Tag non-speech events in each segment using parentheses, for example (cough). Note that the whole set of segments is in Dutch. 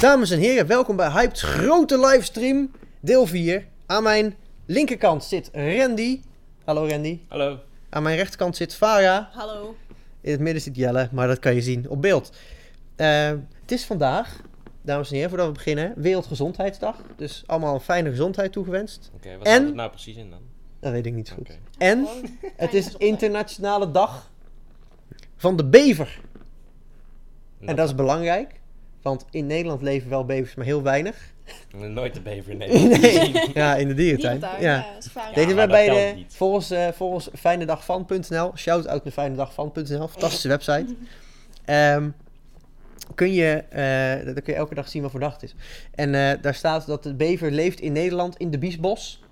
Dames en heren, welkom bij Hyped's grote livestream, deel 4. Aan mijn linkerkant zit Randy. Hallo Randy. Hallo. Aan mijn rechterkant zit Farah. Hallo. In het midden zit Jelle, maar dat kan je zien op beeld. Eh, het is vandaag, dames en heren, voordat we beginnen, Wereldgezondheidsdag. Dus allemaal een fijne gezondheid toegewenst. Oké, wat En? houdt het nou precies in dan? Dat weet ik niet zo goed. Oké. En het is Internationale Dag van de Bever. En dat is belangrijk, want in Nederland leven wel bevers, maar heel weinig. Nooit de bever in (laughs) Nederland. Nee. Ja, in de dierentuin. Dierentuin, Ja. ja, dat is vaak. Deden maar wij bij dat telt de, niet. volgens, eh volgens fijnedagvan.nl, shout-out naar fijnedagvan.nl, fantastische website. (laughs) Ehm, kun je, eh, daar kun je elke dag zien wat voor dag het is. En eh, daar staat dat de bever leeft in Nederland in de Biesbos.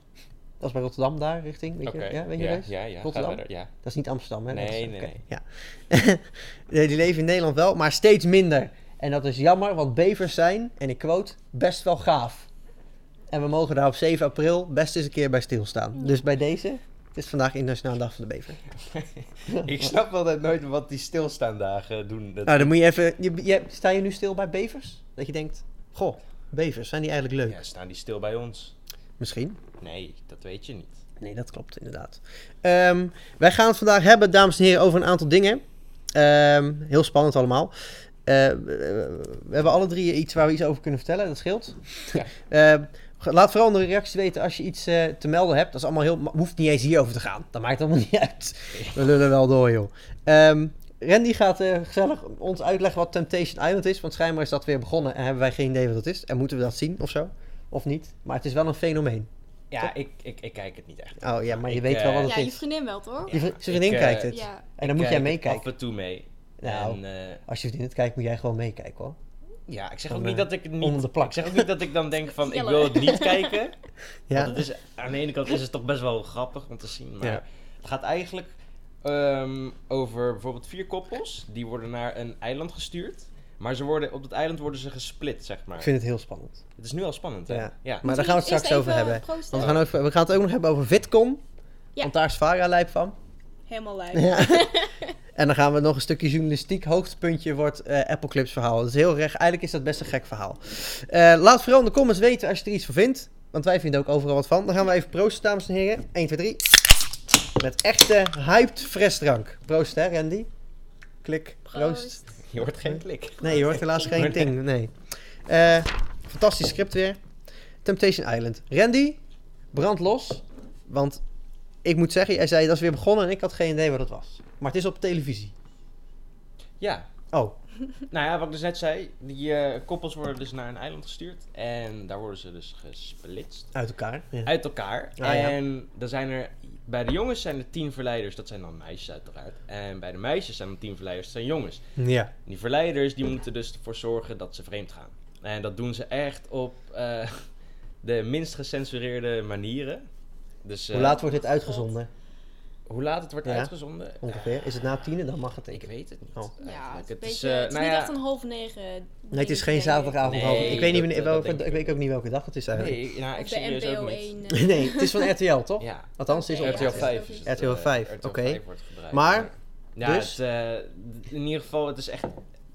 Dat is bij Rotterdam daar, richting, weet Oké. je? Ja, weet je ja, dat eens? ja, ja. Ga Rotterdam? verder, (laughs) ja. Dat is niet Amsterdam, hè? Dat Nee, is- eh, nee, oké, nee. Ja. (laughs) Nee, die leven in Nederland wel, maar steeds minder. En dat is jammer, want bevers zijn, en ik quote, best wel gaaf. En we mogen daar op 7 april best eens een keer bij stilstaan. Dus bij deze, het is vandaag Internationale Dag van de Bever. Ik snap altijd nooit wat die stilstaandagen doen. Dat- Nou, dan moet je even... Je, je, sta je nu stil bij bevers? Dat je denkt, goh, bevers, zijn die eigenlijk leuk? ja, staan die stil bij ons? Misschien. Nee, dat weet je niet. Nee, dat klopt inderdaad. Ehm, wij gaan het vandaag hebben, dames en heren, over een aantal dingen. Ehm, heel spannend allemaal. Eh, we hebben alle drie iets waar we iets over kunnen vertellen, dat scheelt. Ja. (laughs) Ehm, ge- laat vooral in de reacties weten als je iets eh, te melden hebt. Dat is allemaal heel... ma- hoeft niet eens hierover te gaan. Dat maakt allemaal (laughs) niet uit. We lullen wel door, joh. Ehm, Randy gaat eh, gezellig ons uitleggen wat Temptation Island is. Want schijnbaar is dat weer begonnen en hebben wij geen idee wat dat is. En moeten we dat zien of zo? Of niet? Maar het is wel een fenomeen. Ja, ik, ik, ik kijk het niet echt. Oh ja, maar je Ik, weet wel eh, wat het Ja, is. je vriendin wel, toch? Je vri- Ja, zijn vriendin ik, eh, kijkt het. Ja. En dan moet Kijk jij het meekijken. Af en toe mee. Nou. En, eh, Als je vriendin het kijkt, moet jij gewoon meekijken hoor. ja, ik zeg Dan, ook eh, niet dat ik het niet... onder de plak. Ik zeg ook niet dat ik dan denk van, ik Jelle. wil het niet kijken. Ja. Want het is, aan de ene kant is het toch best wel grappig om te zien. Maar Ja. het gaat eigenlijk ehm, over bijvoorbeeld vier koppels. Die worden naar een eiland gestuurd. Maar ze worden, op dat eiland worden ze gesplit, zeg maar. Ik vind het heel spannend. Het is nu al spannend, hè? Ja. Ja. Maar daar gaan we het straks over hebben. Want we, Oh. gaan ook, we gaan het ook nog hebben over VidCon. Ja. Want daar is Vara lijp van. Helemaal lijp. Ja. (laughs) en dan gaan we nog een stukje journalistiek. Hoogtepuntje wordt eh, Apple Clips verhaal. Dat is heel recht. Eigenlijk is dat best een gek verhaal. Eh, laat vooral in de comments weten als je er iets van vindt. Want wij vinden ook overal wat van. Dan gaan we even proosten, dames en heren. 1, 2, 3. Met echte hyped frisdrank. Proost hè, Randy. Klik, proost. Je hoort geen klik. Nee, je hoort helaas geen Nee. ding. Nee. Eh, fantastisch script weer. Temptation Island. Randy, brand los. Want ik moet zeggen, jij zei dat is weer begonnen en ik had geen idee wat het was. Maar het is op televisie. Ja. Oh, Nou ja, wat ik dus net zei. Die eh, koppels worden dus naar een eiland gestuurd. En daar worden ze dus gesplitst. uit elkaar. Ja. Uit elkaar. Ah, ja. en dan zijn er... Bij de jongens zijn er tien verleiders. Dat zijn dan meisjes uiteraard. En bij de meisjes zijn er tien verleiders. Dat zijn jongens. ja. Die verleiders die moeten dus ervoor zorgen dat ze vreemd gaan. En dat doen ze echt op eh, (laughs) de minst gecensureerde manieren. Dus, eh, Hoe laat wordt dit uitgezonden? hoe laat het wordt Ja. uitgezonden? Ongeveer. Is het na tienen? Dan mag het. Ik weet het niet. Oh. eigenlijk. Ja, het is, een Het is, beetje, eh, het is nou niet ja, echt een half negen. Nee, het is dingetje, geen denk ik. zaterdagavond. Nee, half negen. ik, weet niet dat- wanneer, dat welke, denk ik ik weet ook. ook niet welke dag het is eigenlijk. (laughs) Nee, nou, ik Op de serieus ook NPO niet. 1. eh, (laughs) Nee, het is (laughs) van RTL toch? Ja, Althans, het is op RTL 5 is het, eh, RTL 5, RTL oké. 5 wordt gebruikt. Maar, Ja, dus? het, eh, in ieder geval, het is echt... Kop,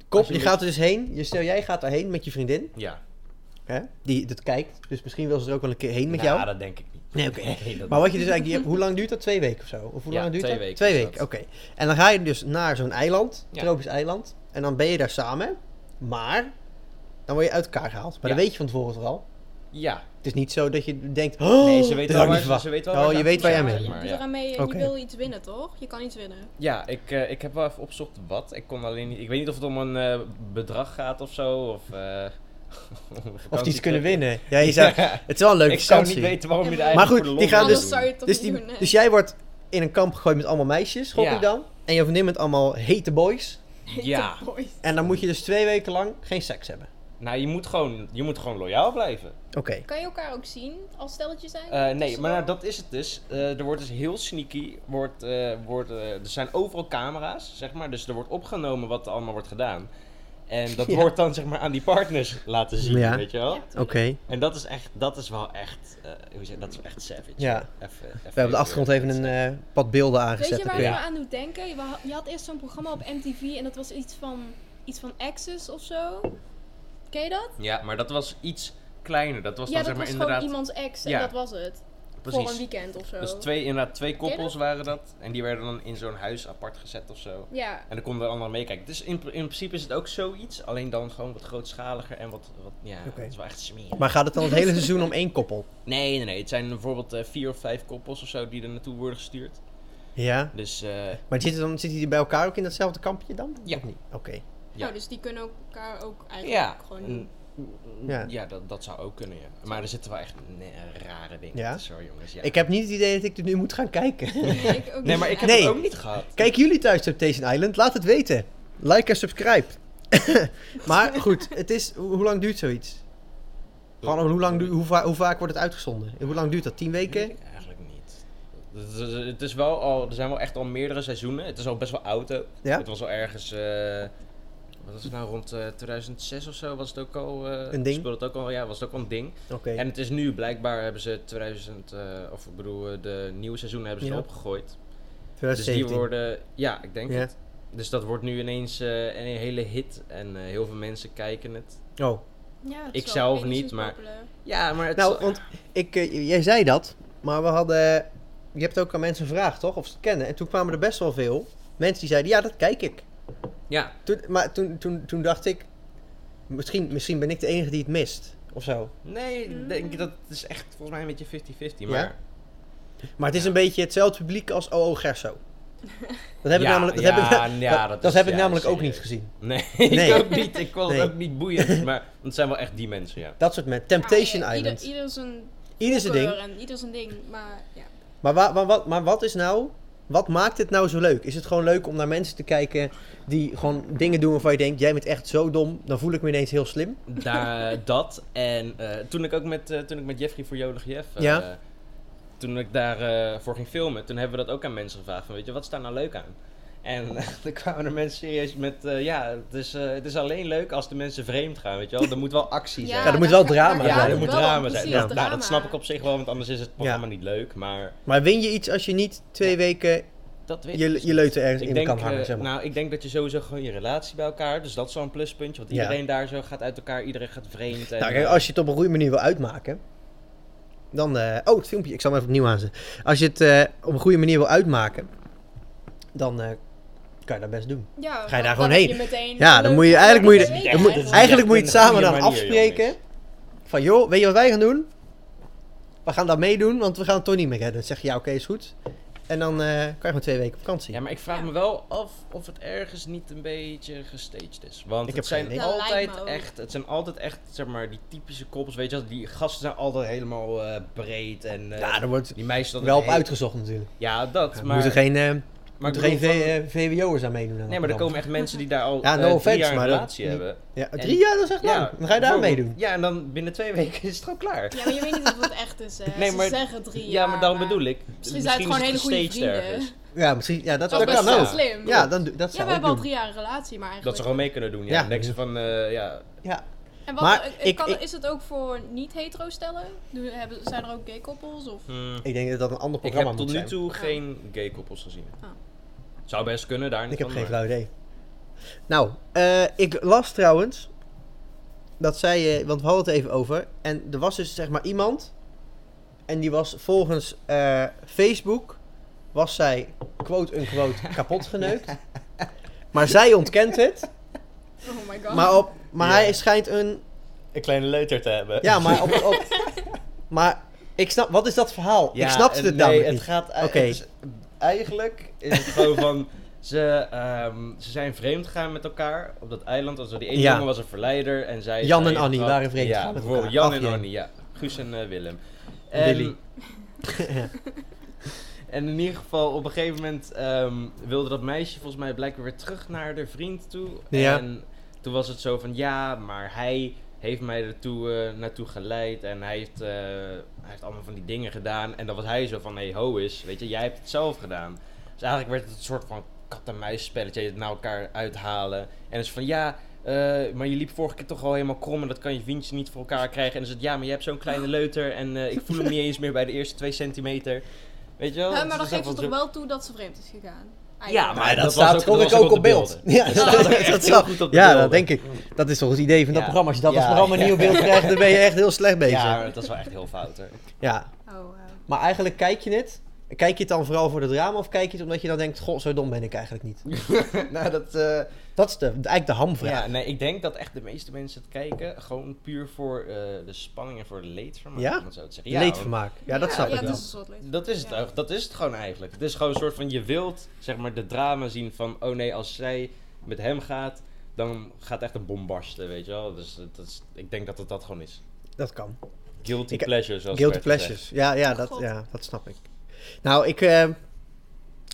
Als je jullie- gaat er dus heen. Je, stel, jij gaat daarheen met je vriendin. Ja. Hè? Die dat kijkt. Dus misschien wil ze er ook wel een keer heen met Nou, jou. dat denk (laughs) ik niet. Nee, oké. Nee, dat- Maar wat je dus eigenlijk, je hebt- hoe lang duurt dat? Twee weken of zo? Of hoe Ja, lang duurt twee dat? weken Twee is weken, dat. oké. En dan ga je dus naar zo'n eiland, Ja. tropisch eiland. En dan ben je daar samen, maar dan word je uit elkaar gehaald. Maar Ja. dat weet je van tevoren toch al. Ja, Het is niet zo dat je denkt, oh, Nee, dat ze weten wel had ik waar niet ze- verwacht. ze weten wel Oh, waar ze je aan weet waar toe jij mee zijn. je bent. maar doet ja. eraan mee, eh, Oké. je wil iets winnen, toch? Je kan iets winnen. Ja, ik, eh, ik heb wel even opzocht wat. Ik kon alleen niet. Ik weet niet of het om een eh, bedrag gaat of zo. Of, eh, (laughs) om Of die vakantietrip. ze kunnen winnen. Ja, je (laughs) zou, het is wel een leuke ik zou niet vakantie. weten waarom je er Maar eigenlijk goed, voor de die lol gaan wil Anders dus- doen. zou je het toch Dus, niet die, doen. hè? dus jij wordt in een kamp gegooid met allemaal meisjes, gok Ja. ik dan. En je vriendin met allemaal hete boys. (laughs) Ja. Boys. En dan moet je dus twee weken lang geen seks hebben. Nou, je moet gewoon, je moet gewoon loyaal blijven. Oké. Kan je elkaar ook zien als stelletje Eh, zijn? nee, Tussendoor? maar nou, dat is het dus. Eh, er wordt dus heel sneaky. Wordt, eh, wordt, eh, er zijn overal camera's, zeg maar. Dus er wordt opgenomen wat er allemaal wordt gedaan. En dat (laughs) Ja. wordt dan zeg maar aan die partners laten zien, Ja. weet je Ja, wel? tuurlijk. Oké. En dat is echt, dat is wel echt, eh, hoe zeg, dat is echt savage. Ja. Even- even We hebben op de achtergrond even een eh, pad beelden aangezet. Weet je waar natuurlijk. je me Ja. aan doet denken? Je wa- Je had eerst zo'n programma op MTV en dat was iets van, iets van Access of zo. Ken je dat? Ja, maar dat was iets kleiner. Dat was ja, dan dat zeg maar was inderdaad... gewoon iemands ex en Ja. dat was het. Voor een precies. weekend of zo. Dus twee, inderdaad, twee Ken je koppels waren dat. En die werden dan in zo'n huis apart gezet of zo. Ja, En dan konden er anderen meekijken. Dus in, in principe is het ook zoiets. Alleen dan gewoon wat grootschaliger en wat... wat ja, Oké. het is wel echt smerig. Maar gaat het dan het (laughs) hele seizoen om één koppel? Nee, nee, nee. Het zijn bijvoorbeeld eh, vier of vijf koppels of zo die er naartoe worden gestuurd. Ja. Dus eh, Maar zitten, dan, zitten die bij elkaar ook in datzelfde kampje dan? Ja. Of niet? Oké. Ja. Nou, dus die kunnen elkaar ook eigenlijk ja, Mm. gewoon... een- Ja. ja. dat, dat zou ook kunnen, ja. Maar er zitten wel echt ne- rare dingen Ja? tussen, hoor, jongens. Ja. Ik heb niet het idee dat ik er nu moet gaan kijken. (laughs) Nee, ik Nee, ook niet. maar ik heb Nee. het ook niet gehad. Kijken jullie thuis Temptation Island? Laat het weten. Like en subscribe. (laughs) maar goed, het is, hoe, hoe lang duurt zoiets? Gewoon hoe, lang, du- hoe, va- hoe vaak wordt het uitgezonden? En Hoe lang duurt dat? 10 Weet weken? ik Eigenlijk niet. Het is- Het is wel al, er zijn wel echt al meerdere seizoenen. Het is al best wel oud ook. Ja? Het was al ergens, eh, wat was het nou, rond eh, 2006 of zo was het ook al... eh, Een ding? Speelde het ook al, ja, was het ook al een ding. Oké. En het is nu, blijkbaar hebben ze 2000, eh, of ik bedoel, eh, de nieuwe seizoenen hebben ze Ja. erop gegooid. Dus die 2017. worden, ja, ik denk Ja. het. Dus dat wordt nu ineens eh, een hele hit en eh, heel veel mensen kijken het. Oh. Ja, het ik is wel zelf enigszins niet, maar- populair. Ja, maar het Nou, want ik, eh, jij zei dat, maar we hadden. Je hebt ook aan mensen gevraagd, toch? Of ze het kennen. En toen kwamen er best wel veel mensen die zeiden: Ja, dat kijk ik. ja, Toen, maar toen, toen, toen dacht ik: misschien, misschien ben ik de enige die het mist. Of zo. nee, ik denk, dat is echt volgens mij een beetje 50-50. Maar Ja? Maar het is een beetje hetzelfde publiek als OO Gerso. Dat heb ik (laughs) Ja, namelijk, dat ja, (laughs) heb ik, ja, dat, dat dat is- heb ik ja, namelijk ook serieus. niet gezien. nee, (laughs) Nee. ik ook niet. Ik vond Nee. het ook niet boeiend. Maar het zijn wel echt die mensen, ja. Dat soort mensen. Temptation Ah, ja, Island. Ieder, eh, ieder zijn Ieder zijn ding. en ieder zijn ding, maar ja. Maar, wa- wa- wat, maar wat is nou. Wat maakt het nou zo leuk? Is het gewoon leuk om naar mensen te kijken die gewoon dingen doen waarvan je denkt: jij bent echt zo dom, dan voel ik me ineens heel slim? Daar, dat. En eh, toen ik ook met, eh, toen ik met Jeffrey voor Jolig Jeff... eh, Ja. toen ik daarvoor voor ging filmen, toen hebben we dat ook aan mensen gevraagd. Van, weet je, wat is daar nou leuk aan? En (laughs) dan kwamen er mensen serieus met... eh, ja, het is, eh, het is alleen leuk als de mensen vreemd gaan, weet je wel. Er moet wel actie zijn. er moet wel drama Ja, zijn. er dat moet wel, drama zijn. precies, Nou, nou, dat snap ik op zich wel, want anders is het programma niet leuk. Maar Maar win je iets als je niet twee weken dat weet ik je, dus je leuter ergens Ik in denk, kan hangen? eh, Zeg maar. Nou, ik denk dat je sowieso gewoon je relatie bij elkaar. Dus dat is wel een pluspuntje. Want Ja. iedereen daar zo gaat uit elkaar. Iedereen gaat vreemd. En, Nou, kijk, als je het op een goede manier wil uitmaken, dan. eh, oh, het filmpje, ik zal hem even opnieuw aanzetten. Als je het eh, op een goede manier wil uitmaken, dan eh, kan je dat best doen. ja Ga je daar dan- gewoon heb heen? meteen Ja, een dan leuk- moet je- eigenlijk moet je- een dan weekend moet- eigenlijk. Eigenlijk moet je het Ja, op samen een dan goede manier, afspreken. jongens. Van joh, weet je wat wij gaan doen? We gaan dat meedoen, want we gaan het toch niet meer redden. Dan zeg je ja, oké, is goed. En dan eh, kan je gewoon twee weken op vakantie. Ja, maar ik vraag Ja. me wel af of het ergens niet een beetje gestaged is. Want Ik heb het geen zijn idee. Dat lijkt me altijd ook. echt, het zijn altijd echt, zeg maar, die typische koppels. Weet je wel, die gasten zijn altijd helemaal eh, breed en eh, ja, er wordt die meisjes dan wel op heel- uitgezocht natuurlijk. Ja, dat. Er maar moeten geen, eh, maar ik moeten geen bedoel van- V- eh, VWO'ers aan meedoen. aan Nee, dat maar er programma. komen echt mensen die daar al Ja, ja, no drie offense, jaar een maar dat- relatie die- hebben. Ja, drie jaar, dat is echt lang. dan ga je daar bijvoorbeeld. meedoen. Nou, Ja, en dan binnen twee (laughs) weken is het al klaar. Ja, maar je weet niet of het echt is, hè. (laughs) Nee, maar- Ze zeggen drie Ja, maar dan bedoel ik. Misschien zijn het gewoon hele goede gestaged vrienden. ergens. Ja, misschien, ja dat, Dat dat is kan best wel ook. slim. Ja, dan, doe- dat Ja, zou we ik hebben al doen. drie jaar een relatie, maar eigenlijk... Dat ze gewoon mee kunnen doen, ja. Ja. Dan denken ze van, eh, ja... Ja. En wat, Maar eh, ik- kan, ik- is het ook voor niet-hetero stellen? Doen- hebben- Zijn er ook gay koppels? Of... hmm, Ik denk dat dat een ander ik programma heb tot moet nu zijn. toe geen gay koppels gezien. Ah. Zou best kunnen, daar niet Ik heb van, eh, geen maar- flauw idee. Nou, eh, ik las trouwens dat zij, eh, want we hadden het even over, en er was dus zeg maar iemand, en die was volgens eh, Facebook, was zij (laughs) quote-unquote kapot geneukt. Maar zij ontkent het, Oh my god. maar, op, maar Ja. hij schijnt een, Een kleine leuter te hebben. ja, maar op, (laughs) op maar ik snap, wat is dat verhaal? Ja, ik snapte en het nee, namelijk het niet. gaat... Oké. Oké. Eigenlijk is het gewoon van... (laughs) Ze, ehm, ze zijn vreemd gegaan met elkaar op dat eiland. Also, die ene Ja. jongen was een verleider en zij... Jan zij en Annie had- waren vreemd ja, gegaan met bijvoorbeeld elkaar. Jan en Ach, jee. Annie, ja. Guus en eh, Willem. En Willy. En in ieder geval, op een gegeven moment ehm, wilde dat meisje volgens mij blijkbaar weer terug naar haar vriend toe. Ja. En toen was het zo van, ja, maar hij heeft mij ertoe eh, naartoe geleid en hij heeft, eh, hij heeft allemaal van die dingen gedaan. En dan was hij zo van, hé, hey, ho is, weet je, jij hebt het zelf gedaan. Dus eigenlijk werd het een soort van kat-en-muis spelletje, het naar elkaar uithalen. En dus van, ja... eh, maar je liep vorige keer toch al helemaal krom en dat kan je vriendje niet voor elkaar krijgen. En dan zegt ja, maar je hebt zo'n kleine leuter en eh, ik voel hem niet eens meer bij de eerste twee centimeter. Weet je wel? Hè, maar Het dan is geeft wel ze toch zo- wel toe dat ze vreemd is gegaan? Ah, Ja, maar Nee, dat dat, was staat ook- dat kon ik was ook ook op op beeld. de Ja, Dat staat echt heel snap- goed op de Ja, beelden. dat denk ik. Dat is toch het idee van dat Ja. programma. Als je dat als Ja. programma niet op (laughs) beeld krijgt, dan ben je echt heel slecht bezig. Ja, Ja. dat is wel echt heel fout. Hè. Oh, wauw. Maar eigenlijk kijk je het. Kijk je het dan vooral voor de drama of kijk je het omdat je dan denkt, goh, zo dom ben ik eigenlijk (laughs) niet? (laughs) nou, dat... eh, Dat is de, eigenlijk de hamvraag. ja, nee, ik denk dat echt de meeste mensen het kijken gewoon puur voor eh, de spanning en voor de leedvermaak. Ja? om het zo te zeggen. Ja, want- Leedvermaak. Ja, dat snap ja, ik wel. dat is een soort leed. Dat is het, Ja. ook. dat is het gewoon eigenlijk. Het is gewoon een soort van, je wilt zeg maar de drama zien van, oh nee, als zij met hem gaat, dan gaat echt een bom barsten, weet je wel. Dus dat is, ik denk dat het dat gewoon is. Dat kan. Guilty Ik- pleasures. Als Guilty pleasures. Ja, ja, dat, God. ja, dat snap ik. Nou, ik... eh,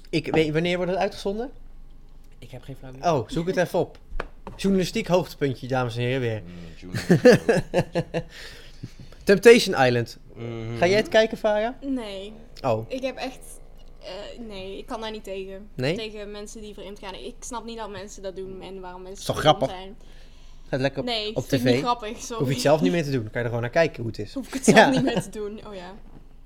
ik weet, wanneer wordt het uitgezonden? Ik heb geen flauw idee. Oh, zoek het even op. Journalistiek hoogtepuntje, dames en heren, weer. Mm, June. Temptation Island. Mhm. Ga jij het kijken, Farah? Nee, Oh, ik heb echt... eh, nee, ik kan daar niet tegen. Nee? Tegen mensen die vreemd gaan. Ik snap niet dat mensen dat doen en waarom mensen Is toch zo grappig? dom zijn. gaat lekker op, Nee, op ik vind het tv. niet grappig. Sorry. Hoef je het zelf niet meer te doen. Dan kan je er gewoon naar kijken hoe het is. Hoef ik het zelf Ja. niet (laughs) meer te doen. Oh ja.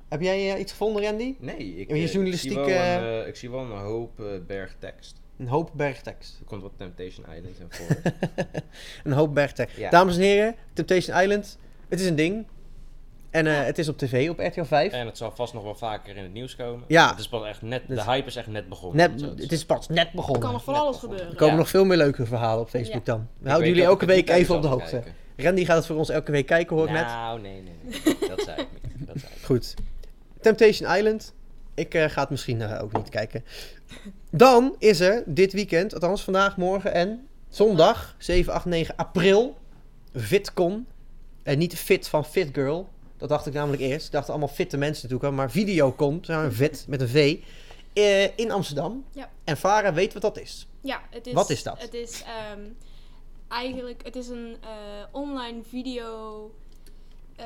Heb jij eh, iets gevonden, Randy? Nee, ik, Je eh, journalistiek, ik, zie wel eh, een, eh, ik zie wel een hoop eh, berg tekst. Een hoop bergtekst. Er komt wat Temptation Island in (laughs) voor. Een hoop bergtekst. Ja. Dames en heren, Temptation Island. Het is een ding. En eh, het is op tv, op RTL 5. en het zal vast nog wel vaker in het nieuws komen. Ja. Het is pas echt net, Dus- de hype is echt net begonnen. om Net, het zo te het is pas net Er begonnen. kan nog van Net alles begonnen. Er gebeuren. komen Ja. nog veel meer leuke verhalen op Facebook dan. We Ik houden weet jullie dat ik elke het week niet thuis even op de zal hoogte. kijken. Randy gaat het voor ons elke week kijken, hoor ik net. nou, nee, nee, nee. Dat zei ik niet. Dat zei ik. niet. Goed. Temptation Island. Ik eh, ga het misschien eh, ook niet kijken. Dan is er dit weekend, althans vandaag, morgen en zondag 7, 8, 9 april, VidCon. En niet fit van Fit Girl. Dat dacht ik namelijk eerst. Ik dacht allemaal fitte mensen naartoe kwamen. Maar Videocon, een vet met een V, eh, in Amsterdam. Ja. En Farah weet wat dat is. Ja, het is, Wat is dat? Het is ehm, eigenlijk het is een eh, online video eh,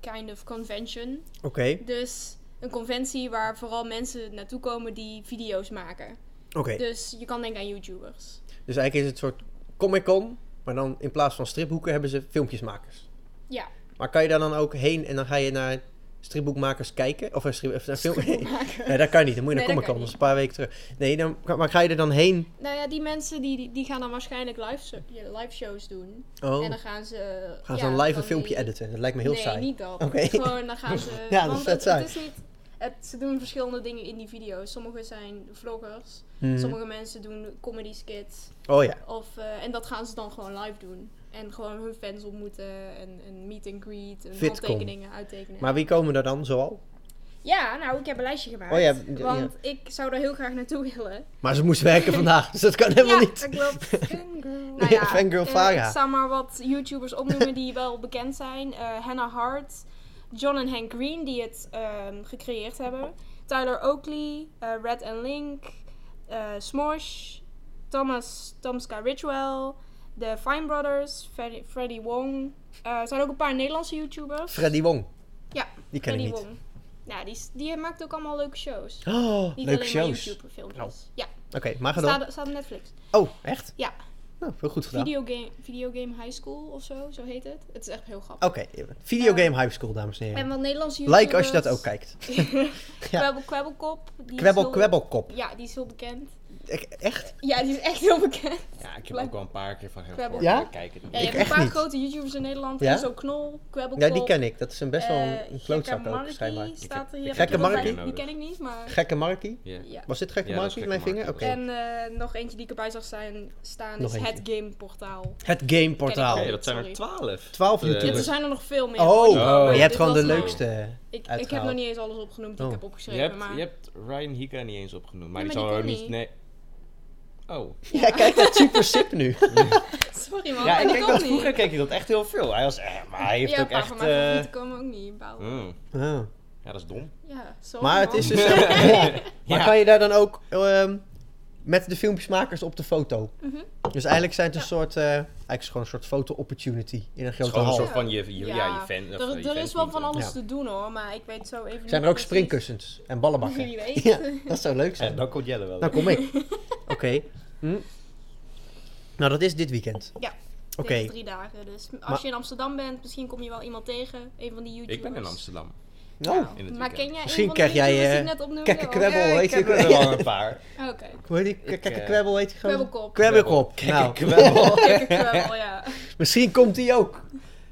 kind of convention. Oké. Dus een conventie waar vooral mensen naartoe komen die video's maken. Oké. Dus je kan denken aan YouTubers. Dus eigenlijk is het een soort Comic Con. Maar dan in plaats van stripboeken hebben ze filmpjesmakers. Ja, Maar kan je daar dan ook heen en dan ga je naar stripboekmakers kijken? Of een strip, of naar film? filmmaker. (laughs) Nee, dat kan niet. Dan moet je naar Nee, Comic Con. dat kan Dat is een paar weken terug. Nee, dan, maar ga je er dan heen? nou ja, die mensen die, die- die gaan dan waarschijnlijk live, so- ja, live shows doen. Oh, En dan gaan ze... gaan ze ja, dan live een die- filmpje editen? Dat lijkt me heel nee, saai. niet dat. Oké. Gewoon, dan gaan ze... (laughs) Ja, dat want is vet het, het saai. is niet... Het, ze doen verschillende dingen in die video's. Sommige zijn vloggers. Mhm. Sommige mensen doen comedy skits. Oh ja. Of, eh, en dat gaan ze dan gewoon live doen. En gewoon hun fans ontmoeten. En een meet and greet. En Vidcon. handtekeningen, uittekenen. Maar wie komen er dan zoal? Ja, nou, ik heb een lijstje gemaakt. Oh ja, d- ja. want ik zou daar heel graag naartoe (laughs) willen. Maar ze moest werken vandaag, dus dat kan helemaal ja, niet. dat (laughs) klopt. Fangirl. Nou Ja, ja, fangirl eh, Farah. ik zal maar wat YouTubers opnoemen die wel bekend zijn. Eh, Hannah Hart, John en Hank Green die het ehm, gecreëerd hebben. Tyler Oakley, eh, Red and Link, eh, Smosh, Thomas Tomska Ritual, de Fine Brothers, Freddy, Freddy Wong. Eh, er zijn ook een paar Nederlandse YouTubers. Freddy Wong. Ja, Die ken Freddy ik niet. Wong. Nou, die, is- die maakt ook allemaal leuke shows. Oh, leuke Niet alleen maar shows. YouTube filmpjes. Ja, Oké, maar ga door. staat, staat op Netflix. Oh, echt? Ja. Nou, heel goed gedaan. Videogame, videogame High School of zo, zo heet het. Het is echt heel grappig. Oké, videogame high school, dames en En heren. wat Nederlandse Eh, YouTubers... Like als je dat ook (laughs) kijkt. Ja. Kwebbel, Kwebbelkop. die is Kwebbel, heel- kwebbelkop. Ja, die is heel bekend. E- Echt? Ja, die is echt heel bekend. Ja, ik heb Leuk. ook wel een paar keer van hem Kwebbel. Ja? gehoord. maar ik kijk het niet. Ja, je Ik hebt een echt paar niet. grote YouTubers in Nederland. Ja? Ja? Zo Knol, Kwebbelkop. Ja, die ken ik. Dat is een best wel eh, een- een klootzak Gekka ook, Markie schijnbaar. staat er hier. Gekke Ik heb er Markie? bij- Die ken ik niet, maar... Gekke Markie? Ja. Ja. Was dit gekke Ja, dat is Markie in mijn gekke vinger? Oké. Markie, En eh, nog eentje die ik erbij zag zijn, staan Nog is eentje. Het Game Portaal. Het gameportaal. Ken Oké, ik dat zijn er Sorry. twaalf. 12 Eh, Ja, er YouTubers. zijn er nog veel meer. Oh, hoor. Oh. maar Maar je hebt dit gewoon de was nou- leukste. Ik, ik heb uitgehaald. nog niet eens alles opgenoemd die Oh. ik heb Je opgeschreven, hebt, maar... je hebt Ryan Hika niet eens opgenoemd, maar Ja, die maar zal die er ken niet... ik. Nee. Oh. Ja, kijk dat super sip (laughs) nu. Sorry man, Ja, ik die denk kon dat niet. vroeger keek hij dat echt heel veel. Hij was echt... Maar hij heeft ja, ook paar van echt... mijn eh, favorieten komen ook niet bouwen. mm. Oh. Ja, dat is dom. Ja, sorry Maar het man. is dus... Ja. Maar Ja. kan je daar dan ook ehm, met de filmpjesmakers op de foto? Mhm. Dus eigenlijk zijn het een soort... eh, eigenlijk is het gewoon een soort foto-opportunity in een Het is grote gewoon een hal. soort van je, je, ja. je fan. of, Er, eh, je er is wel fanclub. van alles Ja. te doen hoor, maar ik weet zo even Zijn er niet ook precies. springkussens en ballenbakken? Wie weet. Ja, dat zou leuk Ja, zijn. dan komt Jelle wel. Nou, kom (laughs) ik. Oké. Hm. Nou, dat is dit weekend. Ja. Oké. Deze drie dagen. Dus als Maar- je in Amsterdam bent, misschien kom je wel iemand tegen. Een van die YouTubers. ik ben in Amsterdam. Nou, in het maar weekend. ken jij Misschien een van de krijg jij, YouTubers die eh, ik net opnoemde? kekkekweb- Ja, weet ik je- heb er wel een paar. Oh, Oké, hoe heet die? Ik, Kijk, eh, kwebbel heet die gewoon? kwebbelkop. Kwebbelkop. Nou, Kekkekweb. (laughs) Kekkerkwebbel, (laughs) ja. misschien komt die ook.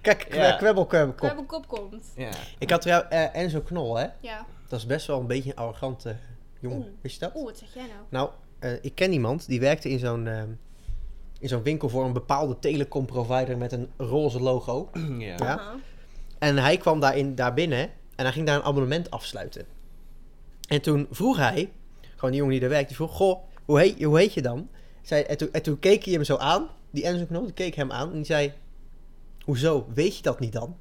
Kijk, kwe- Ja. kwebbel, kwebbelkop. Kwebbelkop komt. Ja. Ik had trouwens eh, Enzo Knol, hè. Ja. Dat is best wel een beetje een arrogante jongen. Oeh. Wist je dat? Oeh, wat zeg jij nou? Nou, eh, ik ken iemand die werkte in zo'n ehm, in zo'n winkel voor een bepaalde telecomprovider met een roze logo. ja. Ja. (laughs) Aha. En hij kwam daarin, daar binnen en hij ging daar een abonnement afsluiten. En toen vroeg hij, gewoon die jongen die daar werkt, die vroeg, goh, hoe heet, hoe heet je dan? Zei, en, toen, en toen keek hij hem zo aan, die Enzo Knol, die keek hem aan en die zei, hoezo, weet je dat niet dan?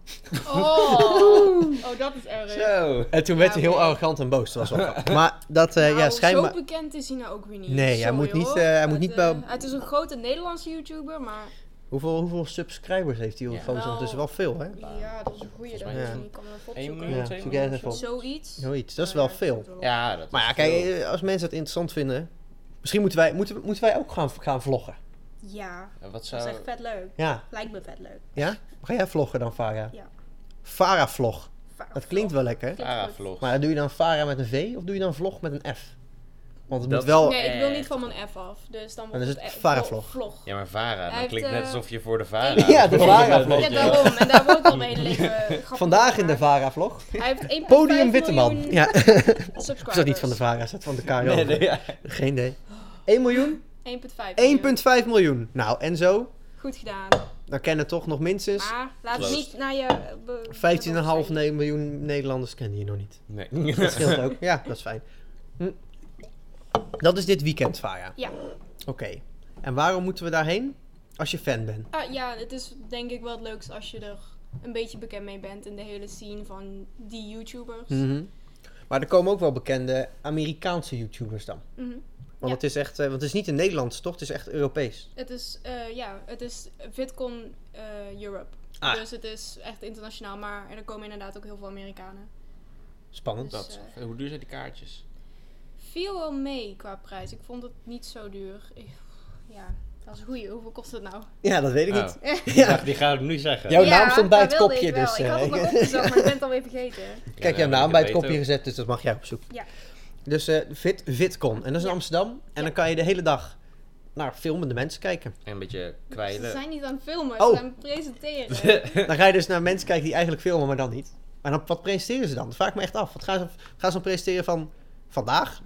Oh. oh, dat is erg. Zo. En toen werd Ja, hij heel oké. arrogant en boos, dat was wel grappig. (laughs) Maar dat, eh, Nou, ja, schijnbaar... Zo bekend is hij nou ook weer niet. Nee, hij Sorry, moet niet, hoor. eh, hij Het, moet niet eh, bij- Het is een grote Nederlandse YouTuber, maar... Hoeveel, hoeveel subscribers heeft die Ja. gozer? Wel- Dat is wel veel, hè? Ja, dat is een goeie. Volgens Dat mij is is niet. Ik kan hem even één opzoeken. miljoen, Ja, twee zoek miljoen, jij even op. Zoiets. Zoiets, dat is Eh, wel ik veel. moet wel- Ja, dat Maar ja, is kijk, veel. eh, als mensen het interessant vinden, misschien moeten wij, moeten, moeten wij ook gaan, gaan vloggen. Ja, En Wat dat is zou... echt vet leuk. Ja, Lijkt me vet leuk. ja? Ga jij vloggen dan, Farah? Ja. Farah vlog. Va- Dat klinkt wel lekker. Klinkt Farah goed. vlog. Maar doe je dan Farah met een V of doe je dan vlog met een F? Want het Dat- moet wel... Nee, ik wil niet echt van mijn F af. Dus dan, Dan is wordt het e- Varavlog. vlog. Ja, maar Vara, Hij dat klinkt heeft, net eh, alsof je voor de Vara... Ja, de Vara vlog. Ja, daarom. En daar wil ik (laughs) al mee leven. Grappig Vandaag in de gemaakt. Farah vlog. Hij heeft 1,5 Podium Witteman. miljoen Ja, (laughs) is subscribers. dat niet van de Farah, is dat van de KRO? Nee, nee, ja. Geen idee. 1 miljoen? 1,5 miljoen. 1,5 miljoen. Nou, en zo. Goed gedaan. Dan kennen toch nog minstens Maar laat het Closed. niet naar je... eh, be- 15,5 ne- miljoen Nederlanders kennen hier nog niet. (laughs) Nee. (laughs) Dat scheelt ook. Ja, dat is fijn. Hm. Dat is dit weekend, Vara. Ja. Oké. En waarom moeten we daarheen? Als je fan bent. Ah, ja, het is denk ik wel het leukst als je er een beetje bekend mee bent in de hele scene van die YouTubers. Mhm. Mm-hmm. Maar er komen ook wel bekende Amerikaanse YouTubers dan. Mhm. Want, Ja. het is echt, eh, want het is niet in Nederlands, toch? Het is echt Europees. Het is, eh, ja, het is VidCon eh, Europe. Ah. Dus het is echt internationaal, maar er komen inderdaad ook heel veel Amerikanen. Spannend. Dus- Dat, eh, hoe duur zijn die kaartjes? Viel wel mee qua prijs. Ik vond het niet zo duur. Ik- Ja, dat is een goeie. Hoeveel kost het (laughs) nou? Ja, dat weet ik Oh. niet. (laughs) Ik dacht, die gaan we nu zeggen. Jouw ja, naam stond bij dat het wilde kopje, ik wel. dus, Ik had het eh, (laughs) nog opgezocht, maar ik ben het alweer vergeten. Kijk, Ja, jouw maar naam ik bij het weet kopje ook. gezet, dus dat mag jij opzoeken. Ja. Dus eh, Vit, VidCon. En dat is in Ja. Amsterdam. En Ja. dan kan je de hele dag naar filmende mensen kijken. En een beetje Ze kwijlen. zijn niet aan het filmen, Oh. ze zijn aan het (laughs) (laughs) presenteren. Dan ga je dus naar mensen kijken die eigenlijk filmen, maar dan niet. Maar dan, wat presenteren ze dan? Dat vraag ik me echt af. Wat gaan ze, gaan ze dan presenteren van vandaag?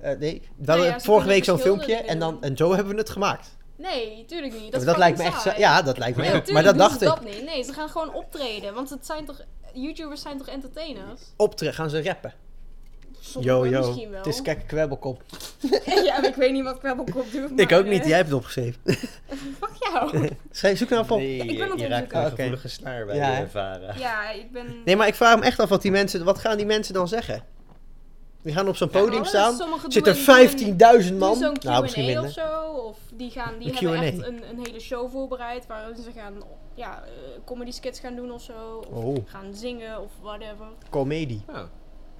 Eh, nee, we hadden Nou ja, vorige ze kunnen week zo'n verschillende filmpje dingen en, dan, doen. en zo hebben we het gemaakt. Nee, tuurlijk niet. Dat, Dat, is lijkt me fucking echt... zo- saai. Ja, dat lijkt me Nee, echt. natuurlijk Maar dat dacht ik. dat niet. Nee, ze gaan gewoon optreden. Want het zijn toch... YouTubers zijn toch entertainers? Optre gaan ze rappen. Yo, Sommigen yo. Misschien wel. Het (laughs) is kijk kwebbelkop. ja, maar ik weet niet wat Kwebbelkop doet. Ik maar, ook niet, eh, jij hebt het opgeschreven. (laughs) Fuck jou. Schrijf- Zoek nou op. Nee, ik ben aan het je raakt onderzoeken. een Oké. gevoelige snaar bij Ja, hè? de Vara. ja, ik ben... Nee, maar ik vraag me echt af wat die mensen... Wat gaan die mensen dan zeggen? Die gaan op zo'n Ja, oh, podium alles. staan. Sommigen Zitten doen een- 15.000 doen man. zo'n Q&A Nou, misschien of minder. zo. Of die, gaan, die Een hebben echt Q&A. een, een hele show voorbereid. Waarin ze gaan ja, eh, comedy skits gaan doen of zo. Of Oh. gaan zingen of whatever. Comedie. Oh.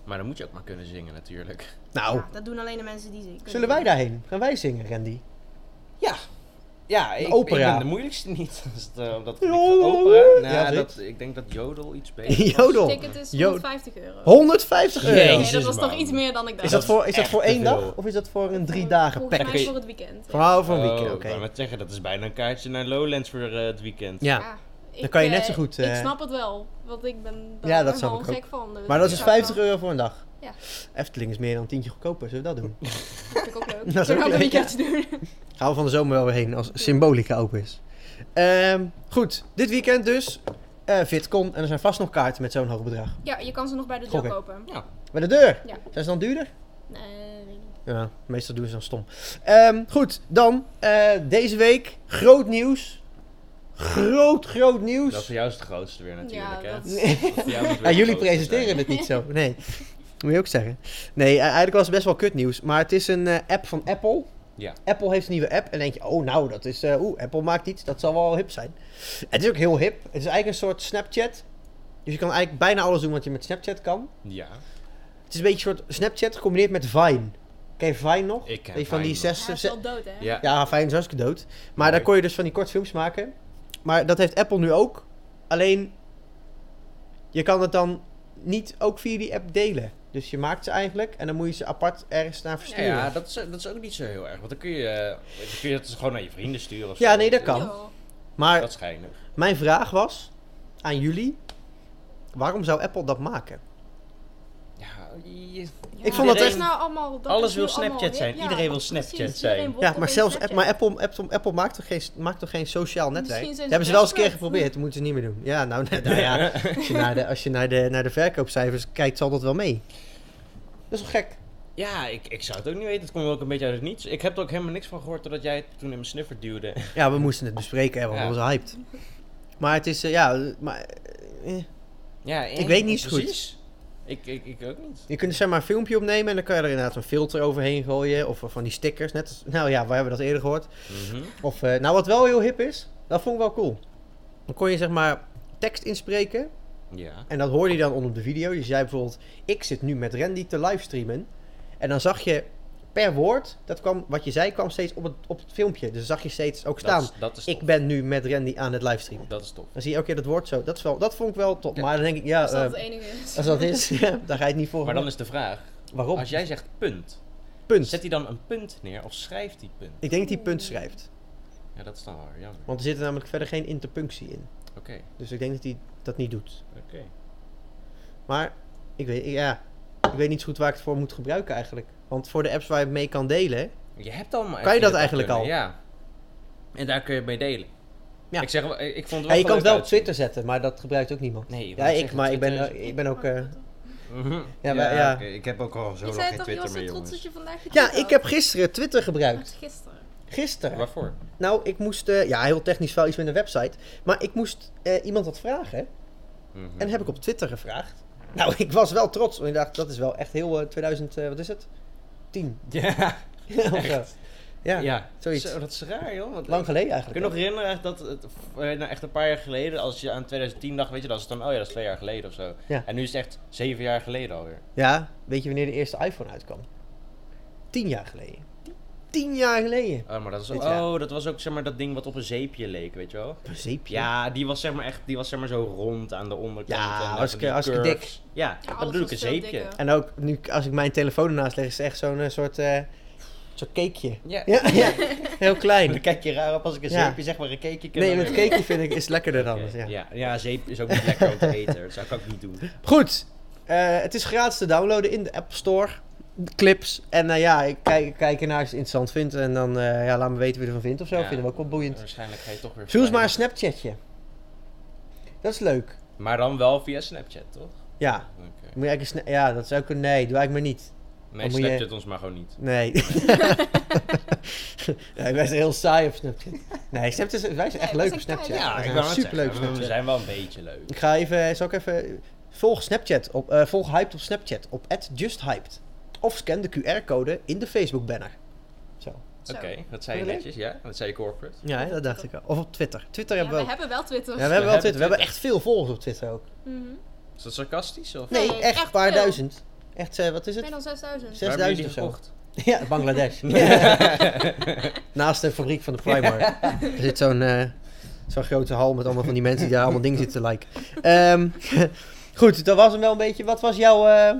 Maar dan moet je ook maar kunnen zingen natuurlijk. Nou, Ja, dat doen alleen de mensen die zingen. zullen wij daarheen? Gaan wij zingen, Randy? Ja. Ja, ik, opera. ik ben de moeilijkste niet. Als het, eh, op dat gebied Ja, gaat. ja, opera. ja. Nou, Ja, zoiets. dat, ik denk dat Jodel (laughs) iets beter is. Jodel. Het ticket dus is Jo- 150 euro. 150 euro. Jezus. Nee, dat was toch man. iets meer dan ik dacht. Is dat voor, is is dat echt voor te één veel. dag? Of is dat voor een drie dagen Volgens pack? mij package? voor het weekend. Ja. Verhaal voor een weekend, Oh, oké. Ik wou net zeggen, dat is bijna een kaartje naar Lowlands voor eh, het weekend. Ja. Ja, Dan kan je ik, net zo eh, goed, ik eh, snap het wel, want ik ben daar Ja, dat snap helemaal ik ook. gek van. dus Maar dat is ik dus zou 50 wel- euro voor een dag. Ja. Efteling is meer dan een tientje goedkoper, zullen we dat doen? (laughs) Vind ik ook leuk. Dat is Zullen ook we een leuk, ja. weekendje doen? Gaan we van de zomer wel weer heen als symbolica open is. Ehm, goed, dit weekend dus. eh Fitcon. En er zijn vast nog kaarten met zo'n hoog bedrag. Ja, je kan ze nog bij de deur Gokken. kopen. Bij de deur. Ja. Zijn ze dan duurder? Nee, weet ik niet. Ja, meestal doen ze dan stom. Ehm, goed, dan eh, deze week groot nieuws. Groot, groot nieuws. Dat voor jou is het grootste weer natuurlijk, Ja, hè? dat is- (laughs) Nee. Dat voor jou moet weer Ja, het jullie grootste presenteren zijn. het niet zo. Nee. (laughs) Moet je ook zeggen. Nee, eh, eigenlijk was het best wel kut nieuws. Maar het is een eh, app van Apple. Ja. Apple heeft een nieuwe app. En denk je, oh nou, dat is. eh, Oeh, Apple maakt iets. Dat zal wel hip zijn. Het is ook heel hip. Het is eigenlijk een soort Snapchat. Dus je kan eigenlijk bijna alles doen wat je met Snapchat kan. Ja, Het is een beetje een soort Snapchat gecombineerd met Vine. Ken je Vine nog? Ik ken Weet je, van Vine die nog. zes. Hij is zes- wel dood, hè? ja. ja, Vine is hartstikke dood. Maar Leuk. daar kon je dus van die korte films maken. Maar dat heeft Apple nu ook. Alleen, je kan het dan niet ook via die app delen. Dus je maakt ze eigenlijk en dan moet je ze apart ergens naar Ja, versturen. ja dat, is, dat is ook niet zo heel erg. Want dan kun je, eh, dan kun je het gewoon naar je vrienden sturen. Of Ja, zo. nee, dat kan. Joh. maar Dat is geinig. mijn vraag was aan jullie, waarom zou Apple dat maken? Ja, je- Ja, Ik vond dat dit echt- is nou allemaal, dat Alles is wil nu allemaal Snapchat hip. zijn. Ja, Iedereen wil precies. Snapchat Iedereen zijn. wil Ja, maar opeens zelfs Snapchat. maar Apple, Apple, Apple maakt, toch geen, maakt toch geen sociaal netwerk? Misschien zijn Dat ze hebben ze wel eens een keer desperate. geprobeerd, dat moeten ze niet meer doen. Ja, nou, nou ja, als je, naar de, als je naar, de, naar de verkoopcijfers kijkt, zal dat wel mee. Dat is wel gek. (laughs) Ja, ik, ik zou het ook niet weten. Het komt ook een beetje uit het niets. Ik heb er ook helemaal niks van gehoord totdat jij het toen in mijn sniffer duwde. Ja, we moesten het bespreken, hè, want Ja. we waren hyped. Maar het is, eh, ja, maar, eh, Ja, Ik weet niet zo goed. precies. Ik, ik, ik ook niet. je kunt er zeg maar een filmpje opnemen en dan kan je er inderdaad een filter overheen gooien. Of eh, van die stickers, net als- nou ja, we hebben dat eerder gehoord. Mhm. Of, eh, nou, wat wel heel hip is, dat vond ik wel cool. Dan kon je zeg maar tekst inspreken Ja. en dat hoorde je dan onder de video. Je zei bijvoorbeeld, ik zit nu met Randy te livestreamen. En dan zag je per woord, dat kwam, wat je zei, kwam steeds op het, op het filmpje. Dus dan zag je steeds ook staan, Dat is, dat is ik tof. ben nu met Randy aan het livestreamen. Dat is tof. Dan zie je elke keer dat woord zo. Dat, is wel, dat vond ik wel top. Ja. Maar dan denk ik, ja, Als dat eh, het enige is. als dat is, (laughs) ja, dan ga je het niet voor. Maar dan is de vraag, Waarom? als jij zegt punt, Punt. zet hij dan een punt neer of schrijft hij punt? Ik denk dat hij punt schrijft. Ja, dat is dan wel weer jammer. Want er zit er namelijk verder geen interpunctie in. Oké, Dus ik denk dat hij dat niet doet. oké. Maar ik weet, ja, ik weet niet zo goed waar ik het voor moet gebruiken eigenlijk. Want voor de apps waar je het mee kan delen... Je hebt al maar Kan je dat even eigenlijk kunnen, al? Ja. En daar kun je het mee delen. Ja. Ik zeg, wel- ik ik vond het wel Ja, je kan leuk het wel op uitzien. Twitter zetten, maar dat gebruikt ook niemand. Nee, ja, wou ik, zeggen, maar ik ben, Twitter eh, ik ben ook... eh, Mhm. Ja, maar- ja. oké, Ik heb ook al zo Ik lang zei geen toch, je Twitter was zo meer, trots jongens. dat je vandaag getwitterd Ja, had? ik heb gisteren Twitter Dat gebruikt. was gisteren. Gisteren. Waarvoor? Nou, ik moest... eh, ja, heel technisch wel iets met een website. Maar ik moest eh, iemand wat vragen. Mhm. En heb ik op Twitter gevraagd. Nou, (laughs) ik was wel trots. Want ik dacht, dat is wel echt heel eh, 2000, eh, wat is het? 10. Ja, (laughs) Of zo. ja, ja. zoiets. Zo, dat is raar, joh. Want lang geleden Kun je eigenlijk. nog herinneren echt dat het, eh, nou, echt een paar jaar geleden, als je aan 2010 dacht, weet je, dat is dan, oh ja, dat is twee jaar geleden of zo. Ja. En nu is het echt zeven jaar geleden alweer. Ja, weet je wanneer de eerste iPhone uitkwam? 10 jaar geleden. 10 jaar geleden. Oh, maar dat is Dit jaar. oh, dat was ook zeg maar dat ding wat op een zeepje leek, weet je wel? Een zeepje. Ja, die was zeg maar echt, die was zeg maar zo rond aan de onderkant. Ja, en dan hartstikke- van die hartstikke curves. Ja, Ja, dat alles bedoel ik, was een veel zeepje. dikker. En ook nu, als ik mijn telefoon ernaast leg, is het echt zo'n eh, soort, eh soort cakeje. Ja. Ja, (laughs) ja. (laughs) heel Dan klein. kijk je raar op als ik een Ja. zeepje zeg, maar een cakeje kan Nee, dan met weer. cakeje vind ik is lekkerder dan. Oké, ja. ja. ja, zeep is ook niet lekker om te eten. Dat zou ik ook niet doen. Goed. Eh, het is gratis te downloaden in de App Store. De clips. En nou ja, ik kijk, kijk ernaar als je het interessant vindt. En dan eh, ja, laat me weten wie ervan vindt of zo. Ja. Vinden we ook wel boeiend. Waarschijnlijk ga je toch weer... Zoek eens maar een verwijderen. Snapchatje. Dat is leuk. Maar dan wel via Snapchat, toch? Ja. Oké. Moet je eigenlijk een sna- ja, dat zou kunnen. Nee, doe eigenlijk maar niet. Nee, moet je- Snapchat ons maar gewoon niet. (laughs) Nee. ja, ik ben heel saai op Snapchat. Nee, Snapchat is, wij zijn echt Nee, leuk wij op zijn Snapchat. keihard. Wij Ja, ik zijn wou net superleuk op zeggen, we- We Snapchat. zijn wel een beetje leuk. Ik ga even, zal ik even, volg Snapchat, op, eh, volg Hyped op Snapchat, op @justhyped. Of scan de QR-code in de Facebook banner. Zo. Zo. Oké, dat zei je Leuk. netjes, ja? Dat zei je corporate. Ja, hè, dat dacht ik al. Of op Twitter. Twitter Ja, hebben we we ook. hebben wel Twitter. Ja, we hebben wel We hebben Twitter. We hebben echt veel volgers op Twitter ook. Mhm. Is dat sarcastisch? Of? Nee, Nee, echt echt een paar veel. duizend. Echt, eh, wat is Meer het? dan 6000. Zes- Waar hebben jullie 6000 of zo. die gekocht? Ja, Bangladesh. (laughs) Naast de fabriek van de Primark. Er zit zo'n eh, zo'n grote hal met allemaal van die mensen die daar allemaal dingen zitten te liken. Ehm, (laughs) goed, dat was hem wel een beetje. Wat was jouw... eh,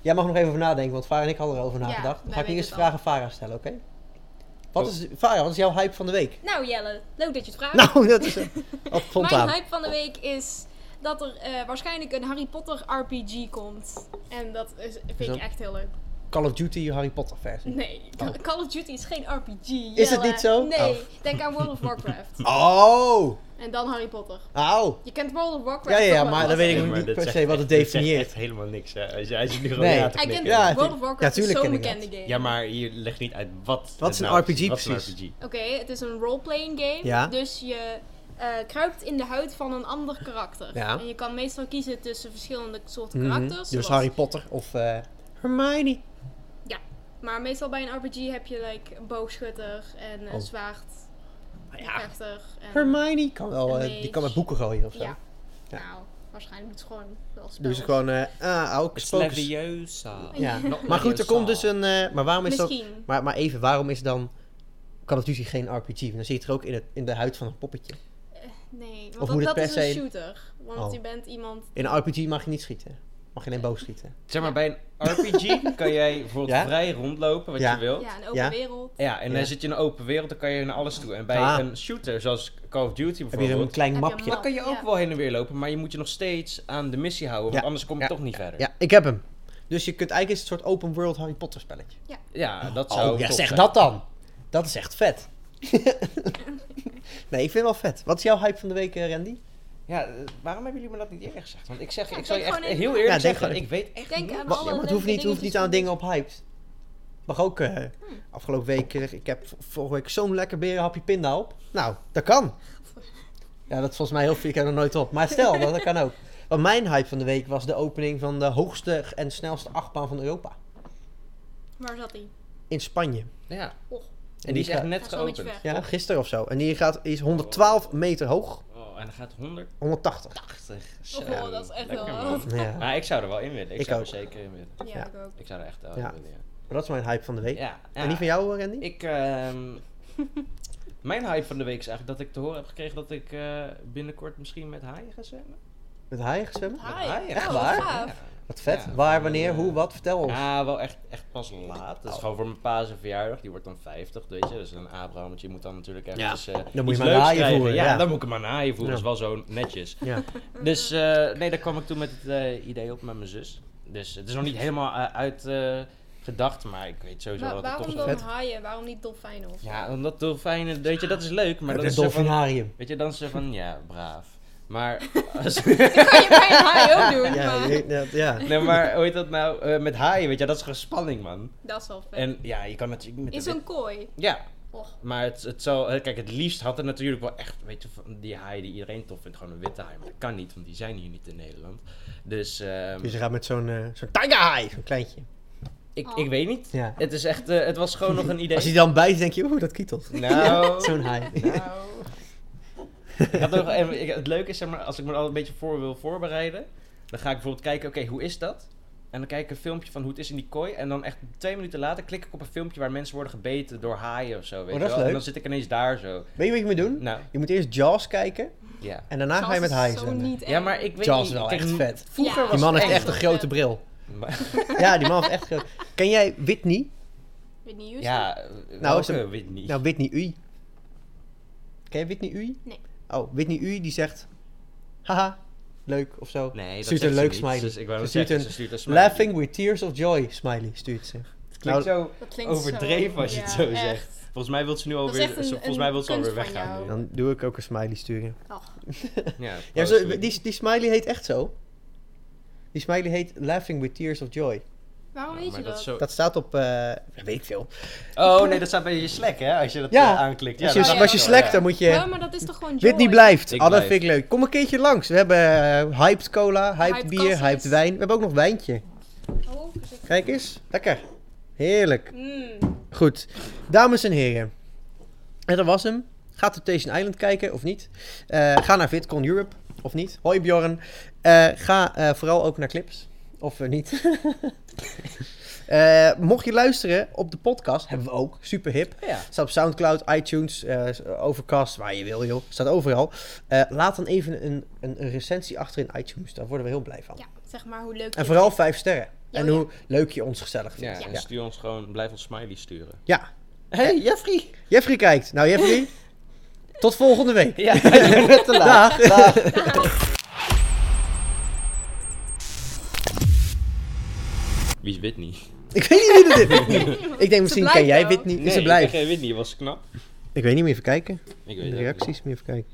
Jij mag nog even over nadenken, want Farah en ik hadden erover Ja, nagedacht. Dan wij ga ik weten eerst het vragen aan Farah stellen, oké? Wat Oh. is... Farah, wat is jouw hype van de week? Nou Jelle, leuk dat je het vraagt. (laughs) Nou, dat is... eh, (laughs) Wat Oh. Mijn spontaan. hype van de week is dat er eh, waarschijnlijk een Harry Potter RPG komt. En dat is, vind Zo. ik echt heel leuk. Call of Duty Harry Potter versie. Nee, Oh. Call of Duty is geen RPG. Is het Jelle. niet zo? Nee, Oh. denk aan World of Warcraft. Oh! en dan Harry Potter. Au! Je kent World of Ja, Warcraft. ja, ja, toch wel? maar dan weet ik maar niet dit per zegt se wat het echt- dit zegt definieert. echt helemaal niks. Hè. Als, je, als je nu gewoon Nee. ja te Hij kent knikken. Ja, World tuurlijk. of Warcraft Ja, is tuurlijk zo'n ken ik bekende game. Ja, maar je legt niet uit wat. Wat het is een nou RPG Wat is een precies? RPG? Oké, het is een roleplaying game. Ja. Dus je eh, kruipt in de huid van een ander karakter. Ja. En je kan meestal kiezen tussen verschillende soorten Mhm. karakters. Dus zoals- Harry Potter of eh, Hermione. Maar meestal bij een RPG heb je like, een boogschutter en een Oh. zwaard. Maar Ah, een ja, vechter En... Hermione kan wel, Een eh, die mage. kan met boeken gooien of zo. Ja. Ja. Nou, waarschijnlijk doet ze gewoon wel spells. Doen ze gewoon, eh ah, ook Het is spokers. Leviosa. Ja. Not Maar goed, er komt dus Leviosa. een, eh, maar waarom is dat, Misschien. maar, maar even, waarom is dan Call of Duty geen RPG? Want dan zit er ook in, het, in de huid van een poppetje. Nee, Of want moet dat, het dat per is een se- shooter. Want Oh. je bent iemand... In een RPG mag je niet schieten. Mag je geen boog schieten. Zeg maar, bij een RPG kan jij bijvoorbeeld Ja? vrij rondlopen wat Ja. je wilt. Ja, Ja, een open Ja. wereld. en Ja. dan zit je in een open wereld, dan kan je naar alles toe. En bij Ah. een shooter, zoals Call of Duty Heb je een bijvoorbeeld, klein Heb je een mapje? dan kan je ook Ja. wel heen en weer lopen, maar je moet je nog steeds aan de missie houden, want Ja. anders kom je Ja. toch niet verder. Ja, Ja, ik heb hem. Dus je kunt eigenlijk is het een soort open world Harry Potter spelletje. Ah, dat zou oh, ja, top zeg zijn. dat dan. Dat is echt vet. (laughs) nee, ik vind het wel vet. Wat is jouw hype van de week, eh, Randy? Ja, eh, waarom hebben jullie me dat niet eerder gezegd? Want ik zeg, Ja, ik zou je denk echt gewoon heel even- eerlijk Ja, denk zeggen, gewoon ik weet echt Denk niet. aan- Maar, alle ja, maar het hoeft leuke niet, dingetjes hoeft niet aan doen. dingen op hypes. Mag ook. eh, Hmm. Afgelopen week, eh, ik heb v- vorige week zo'n lekker berenhapje pinda op. Nou, dat kan. Ja, dat is volgens mij heel veel. Ik heb er nooit op. Maar stel, dat, dat kan (laughs) ook. Want mijn hype van de week was de opening van de hoogste en snelste achtbaan van Europa. Waar zat die? In Spanje. Ja, Och, en die is echt net gaat zo'n beetje geopend. weg. Ja, gisteren of zo. En die gaat, die is 112 meter hoog. Oh, en dan gaat 180. 180. Zo, Oh, dat is echt lekker, wel man. wat. Ja. Maar Maar ik zou er wel in willen. Ik, Ik zou ook. er zeker in willen. Ja, Ja. ik ook. Ik zou er echt wel Ja. in willen. ja. dat is mijn hype van de week. Ja, ja. En die van jou, eh, Randy? Ik, ehm, (laughs) mijn hype van de week is eigenlijk dat ik te horen heb gekregen dat ik eh, binnenkort misschien met haaien ga zwemmen. Met haaien gezwemmen? Ah, Met haaien? Echt oh, waar? gaaf. Wat vet. Ja. Waar, wanneer, Ja. hoe, wat? Vertel ons. Ja, wel echt, echt pas laat. Dat is Oh. gewoon voor mijn pa's een verjaardag. Die wordt dan 50, weet je. Dus een Abraham, want je moet dan natuurlijk Ja. eventjes eh, Dan moet je iets maar leuks naaien krijgen. voeren, Ja, ja. dan moet ik hem maar naaien voeren. Ja. Dat is wel zo netjes. Ja. Mhm. Dus eh, nee, daar kwam ik toen met het eh, idee op met mijn zus. Dus het is nog niet helemaal eh, uit uitgedacht, maar ik weet sowieso Maar dat het waarom toch dan vet. haaien? Waarom niet dolfijnen? (laughs) of zo? Ja, omdat dolfijnen, weet je, dat is leuk, maar Het dat is zo van, dolfinarium. Weet je, dan is ze van, ja, braaf. Maar, (laughs) Dat kan je bij een haai ook doen, (laughs) Ja, maar... je- ja, ja. nee, maar hoe heet dat nou? Eh, met haaien, weet je, dat is gewoon spanning, man. Dat is wel vet. En ja, je kan natuurlijk niet met In de zo'n kooi. wit- Ja, Och, maar het, het zal... eh, Kijk, het liefst had er natuurlijk wel echt, weet je, van die haaien die iedereen tof vindt. Gewoon een witte haai, maar dat kan niet, want die zijn hier niet in Nederland. Dus, ehm, Dus je gaat met zo'n eh, zo'n taigaai, zo'n kleintje. ik, Oh. ik weet niet. Ja. Het is echt, eh, het was gewoon (laughs) nog een idee. Als hij dan bij is, denk je, oeh, dat kietelt. Nou, (laughs) Zo'n haai. Nou. ik had nog, en ik- het leuke is, zeg maar, als ik me er al een beetje voor wil voorbereiden, dan ga ik bijvoorbeeld kijken, oké, hoe is dat? En dan kijk ik een filmpje van hoe het is in die kooi. En dan echt twee minuten later klik ik op een filmpje waar mensen worden gebeten door haaien of zo. Weet Oh, dat je is wel? leuk. En dan zit ik ineens daar zo. Weet je wat je moet doen? Nou, Je moet eerst Jaws kijken ja. en daarna ga je Charles met is haaien zo zwemmen. niet Ja, eng. maar ik weet Jaws niet. is wel kijk, echt m- vet. Vroeger Ja. was Die man heeft het echt een eng. grote bril. (laughs) Maar- (laughs) Ja, die man heeft echt grote... Ken jij Whitney? Weet niet, Houston? Ja, Nou, nou, is hem- weet niet. Nou, Whitney Uy. Ken je Whitney Uy? Nee. Oh, Whitney Uy die zegt... Haha, leuk of zo. nee, dat Stuurt zegt een ze leuk niet. smiley. Dus ik wou Ze net stuurt zeggen, een ze stuurt een smiley. Laughing nou, with tears of joy, smiley, stuurt ze. Het klinkt zo dat klinkt overdreven als je het zo ja, zegt. echt. Volgens mij wil ze nu is alweer, echt een- volgens een mij wil ze alweer kunst van weggaan. jou. nu. Dan doe ik ook een smiley sturen. Ach, Ja, (laughs) Ja, posten. zo, die, die smiley heet echt zo. Die smiley heet Laughing with Tears of Joy. Oh. waarom Ja, weet maar je dat? is zo- Dat staat op, eh weet ik veel. Oh nee, dat staat bij je Slack hè, als je dat Ja. eh, aanklikt. Ja, als je, dat ja, staat Dus als je wel, slackt, ja. dan moet je... Ja, maar dat is toch gewoon joy? Whitney blijft. Ik Ah, dat blijf. vind ik leuk. Kom een keertje langs. We hebben eh, hyped cola, hyped, Hyped bier, kassies. hyped wijn. We hebben ook nog wijntje. Oh, is het- Kijk eens. Lekker. Heerlijk. Mm, Goed. Dames en heren. En dat was hem. Ga Temptation Island kijken, of niet. Eh, ga naar VidCon Europe, of niet. Hoi Bjorn. Eh, ga eh, vooral ook naar clips, of eh, niet. (laughs) Eh, mocht je luisteren op de podcast, hebben we ook. Super hip. Ja. Staat op Soundcloud, iTunes, eh, Overcast, waar je wil joh. Staat overal. Eh, laat dan even een, een, een recensie achter in iTunes. Daar worden we heel blij van. ja, zeg maar hoe leuk je En het vooral vijf sterren. Ja, en ja. hoe leuk je ons gezellig Ja, vindt. en Ja. stuur ons gewoon, blijf ons smiley sturen. ja. Hé, hey, Jeffrey! Jeffrey kijkt. Nou Jeffrey, (laughs) tot volgende week. (laughs) Ja. Te laat. Wie is Whitney? Ik weet niet wie dat is. vindt. Ik denk misschien blijft ken jij wel. Whitney. Is ze Nee, blij? Whitney was knap. Ik weet niet meer even kijken. Ik weet De het ook niet. reacties meer even kijken.